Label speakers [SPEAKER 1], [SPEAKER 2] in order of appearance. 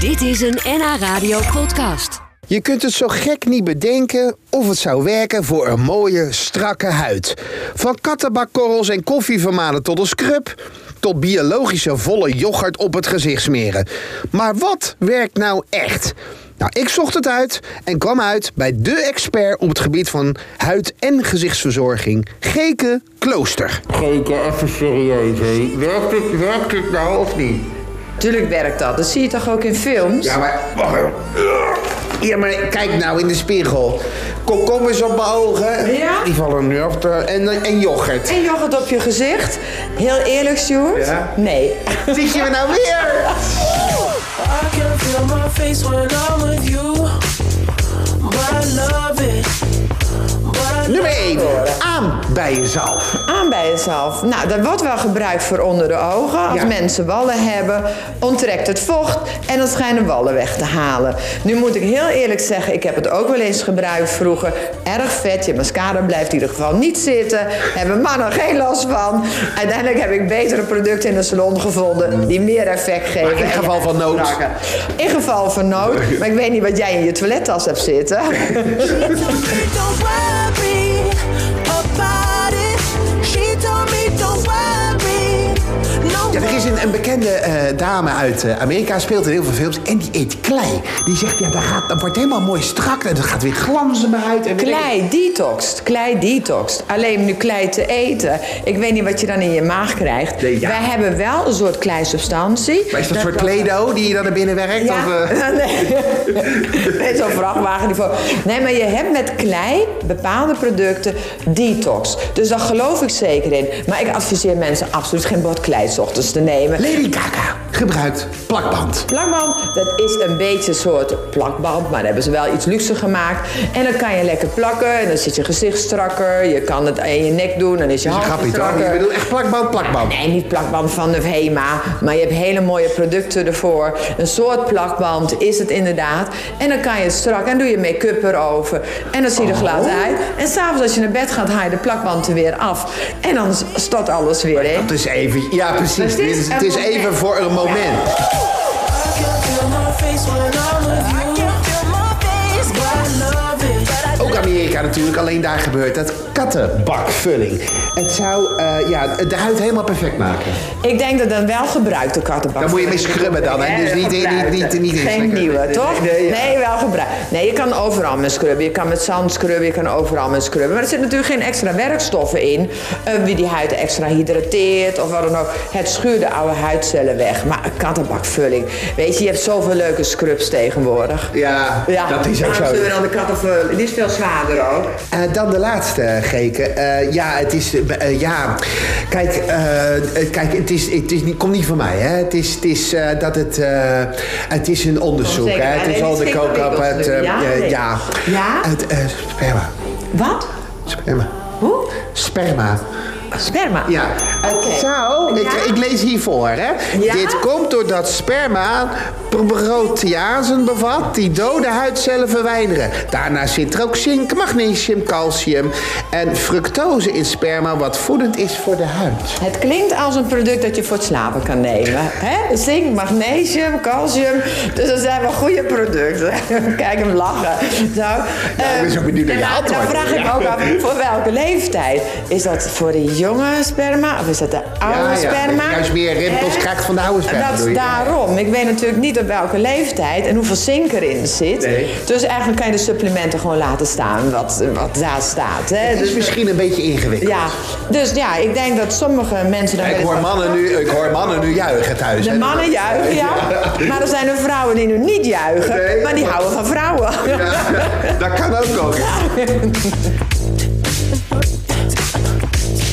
[SPEAKER 1] Dit is een NH Radio podcast.
[SPEAKER 2] Je kunt het zo gek niet bedenken of het zou werken voor een mooie, strakke huid. Van kattenbakkorrels en koffievermanen tot een scrub... tot biologische volle yoghurt op het gezicht smeren. Maar wat werkt nou echt? Nou, ik zocht het uit en kwam uit bij de expert op het gebied van huid- en gezichtsverzorging, Geke Klooster.
[SPEAKER 3] Geke, even serieus, hé. Werkt het, werkt het nou of niet?
[SPEAKER 4] Tuurlijk werkt dat. Dat zie je toch ook in films?
[SPEAKER 2] maar... Ja, maar kijk nou in de spiegel. Kom, kom eens op mijn ogen.
[SPEAKER 4] Ja?
[SPEAKER 2] Die vallen nu af. te- En, en yoghurt.
[SPEAKER 4] En yoghurt op je gezicht? Heel eerlijk, Sjoerd?
[SPEAKER 2] Ja.
[SPEAKER 4] Nee.
[SPEAKER 2] Zit je me nou weer?
[SPEAKER 5] I can feel my face when I'm with you. But I love it. But I
[SPEAKER 2] Nummer 1. Aan bij jezelf.
[SPEAKER 4] Aan bij jezelf. Nou, dat wordt wel gebruikt voor onder de ogen. Als
[SPEAKER 2] Ja.
[SPEAKER 4] mensen wallen hebben, onttrekt het vocht en dat schijnen wallen weg te halen. Nu moet ik heel eerlijk zeggen, ik heb het ook wel eens gebruikt vroeger. Erg vet, je mascara blijft in ieder geval niet zitten. Hebben mannen geen last van. Uiteindelijk heb ik betere producten in de salon gevonden die meer effect geven.
[SPEAKER 2] in
[SPEAKER 4] en
[SPEAKER 2] geval van nood.
[SPEAKER 4] strakker. In geval van nood. Maar ik weet niet wat jij in je toilettas hebt zitten.
[SPEAKER 5] Don't worry about it. She told me don't worry. No
[SPEAKER 2] Ja, er is een, een bekende eh, dame uit eh, Amerika, speelt in heel veel films. En die eet klei. Die zegt, ja, dat, gaat, dat wordt helemaal mooi strak. En dat gaat weer glanzen uit. En weet ik-
[SPEAKER 4] Klei detoxed, klei detoxed. Alleen om nu klei te eten. Ik weet niet wat je dan in je maag krijgt.
[SPEAKER 2] Nee, ja.
[SPEAKER 4] Wij hebben wel een soort kleisubstantie.
[SPEAKER 2] Maar is dat een soort Play-Doh die je dan naar binnen werkt?
[SPEAKER 4] Ja,
[SPEAKER 2] Of, eh,
[SPEAKER 4] nee. nee zo'n vrachtwagen die voor. Nee, maar je hebt met klei bepaalde producten detox. Dus daar geloof ik zeker in. Maar ik adviseer mensen absoluut geen bord klei 's ochtends te nemen.
[SPEAKER 2] Lady Gaga gebruikt plakband.
[SPEAKER 4] Plakband, dat is een beetje een soort plakband, maar daar hebben ze wel iets luxe gemaakt. En dan kan je lekker plakken en dan zit je gezicht strakker. Je kan het aan je nek doen, dan Oh, is eh, je
[SPEAKER 2] Dat is een grapje,
[SPEAKER 4] hand
[SPEAKER 2] toch? Ik
[SPEAKER 4] strakker.
[SPEAKER 2] bedoel, echt plakband, plakband.
[SPEAKER 4] Nee, niet plakband van de HEMA, maar je hebt hele mooie producten ervoor. Een soort plakband is het inderdaad. En dan kan je het strak en doe je make-up erover. En dan zie je er glad uit. En s'avonds als je naar bed gaat, haal je de plakband er weer af. En dan stort alles weer in.
[SPEAKER 2] Dat is even... Ja, precies.
[SPEAKER 4] Het is
[SPEAKER 2] Dit-
[SPEAKER 4] een
[SPEAKER 2] Het is
[SPEAKER 4] moment.
[SPEAKER 2] even voor een moment.
[SPEAKER 5] I can feel my face when I'm with you. I can feel my face. But I love it.
[SPEAKER 2] Ook Amerika natuurlijk, alleen daar gebeurt het. Kattenbakvulling. Het zou eh, ja, de huid helemaal perfect maken.
[SPEAKER 4] Ik denk dat dat wel gebruikte kattenbak.
[SPEAKER 2] Dan moet je mee scrubben dan, hè? Dus niet- niet- niet- niet- niet
[SPEAKER 4] Geen
[SPEAKER 2] inslikken.
[SPEAKER 4] nieuwe, toch?
[SPEAKER 2] Nee, nee,
[SPEAKER 4] Nee,
[SPEAKER 2] ja.
[SPEAKER 4] wel gebruikt. Nee, je kan overal mee scrubben. Je kan met zand scrubben, je kan overal mee scrubben. Maar er zitten natuurlijk geen extra werkstoffen in. eh, wie die huid extra hydrateert of wat dan ook. Het schuurt de oude huidcellen weg. Maar een kattenbakvulling. Weet je, je hebt zoveel leuke scrubs tegenwoordig.
[SPEAKER 2] Ja, dat is ook
[SPEAKER 4] daarom
[SPEAKER 2] zo.
[SPEAKER 4] zullen we dan de kattenvulling. Die is veel zwaarder ook.
[SPEAKER 2] Eh, dan de laatste, Geke. Eh, ja, het is... eh, eh, ja, kijk, eh, eh, kijk het, is, het is niet, komt niet van mij, hè. Het is, het is eh, dat het... eh, het is een onderzoek,
[SPEAKER 4] Zeker,
[SPEAKER 2] hè.
[SPEAKER 4] maar
[SPEAKER 2] Het
[SPEAKER 4] dit
[SPEAKER 2] is al
[SPEAKER 4] is
[SPEAKER 2] de
[SPEAKER 4] geen
[SPEAKER 2] kookap.
[SPEAKER 4] ingewikkeld
[SPEAKER 2] Het, eh,
[SPEAKER 4] natuurlijk. Ja,
[SPEAKER 2] eh,
[SPEAKER 4] nee.
[SPEAKER 2] ja.
[SPEAKER 4] Ja?
[SPEAKER 2] Het, eh, sperma.
[SPEAKER 4] Wat?
[SPEAKER 2] Sperma.
[SPEAKER 4] Hoe?
[SPEAKER 2] Sperma.
[SPEAKER 4] Sperma.
[SPEAKER 2] Ja. Het
[SPEAKER 4] Oké.
[SPEAKER 2] zou... Ik,
[SPEAKER 4] Ja?
[SPEAKER 2] ik lees hiervoor, hè.
[SPEAKER 4] Ja?
[SPEAKER 2] Dit komt doordat sperma proteasen bevat die dode huidcellen verwijderen. Daarna zit er ook zink, magnesium, calcium en fructose in sperma wat voedend is voor de huid.
[SPEAKER 4] Het klinkt als een product dat je voor het slapen kan nemen. hè? Zink, magnesium, calcium. Dus dat zijn wel goede producten. Kijk hem lachen. Zo. ehm,
[SPEAKER 2] ik ben zo benieuwd naar je
[SPEAKER 4] en dan-
[SPEAKER 2] antwoord.
[SPEAKER 4] Dan vraag ik
[SPEAKER 2] Ja.
[SPEAKER 4] ook af, voor welke leeftijd? Is dat voor de jonge sperma of is dat de oude
[SPEAKER 2] Ja, ja.
[SPEAKER 4] sperma?
[SPEAKER 2] Juist meer rimpels
[SPEAKER 4] Hè?
[SPEAKER 2] krijgt van de oude sperma,
[SPEAKER 4] Dat
[SPEAKER 2] bedoel je?
[SPEAKER 4] is daarom. Ik weet natuurlijk niet op welke leeftijd en hoeveel zink erin zit.
[SPEAKER 2] Nee.
[SPEAKER 4] Dus eigenlijk kan je de supplementen gewoon laten staan wat, wat daar staat. Hè?
[SPEAKER 2] Het is
[SPEAKER 4] Dus,
[SPEAKER 2] misschien een beetje ingewikkeld.
[SPEAKER 4] ja. dus ja, ik denk dat sommige mensen... dan
[SPEAKER 2] Ik
[SPEAKER 4] wel eens
[SPEAKER 2] hoor
[SPEAKER 4] wat-
[SPEAKER 2] mannen nu, ik hoor mannen nu juichen thuis.
[SPEAKER 4] de
[SPEAKER 2] hè.
[SPEAKER 4] mannen juichen, ja. Maar er zijn er vrouwen die nu niet juichen,
[SPEAKER 2] Nee.
[SPEAKER 4] maar die houden van vrouwen.
[SPEAKER 2] Ja, dat kan ook nog.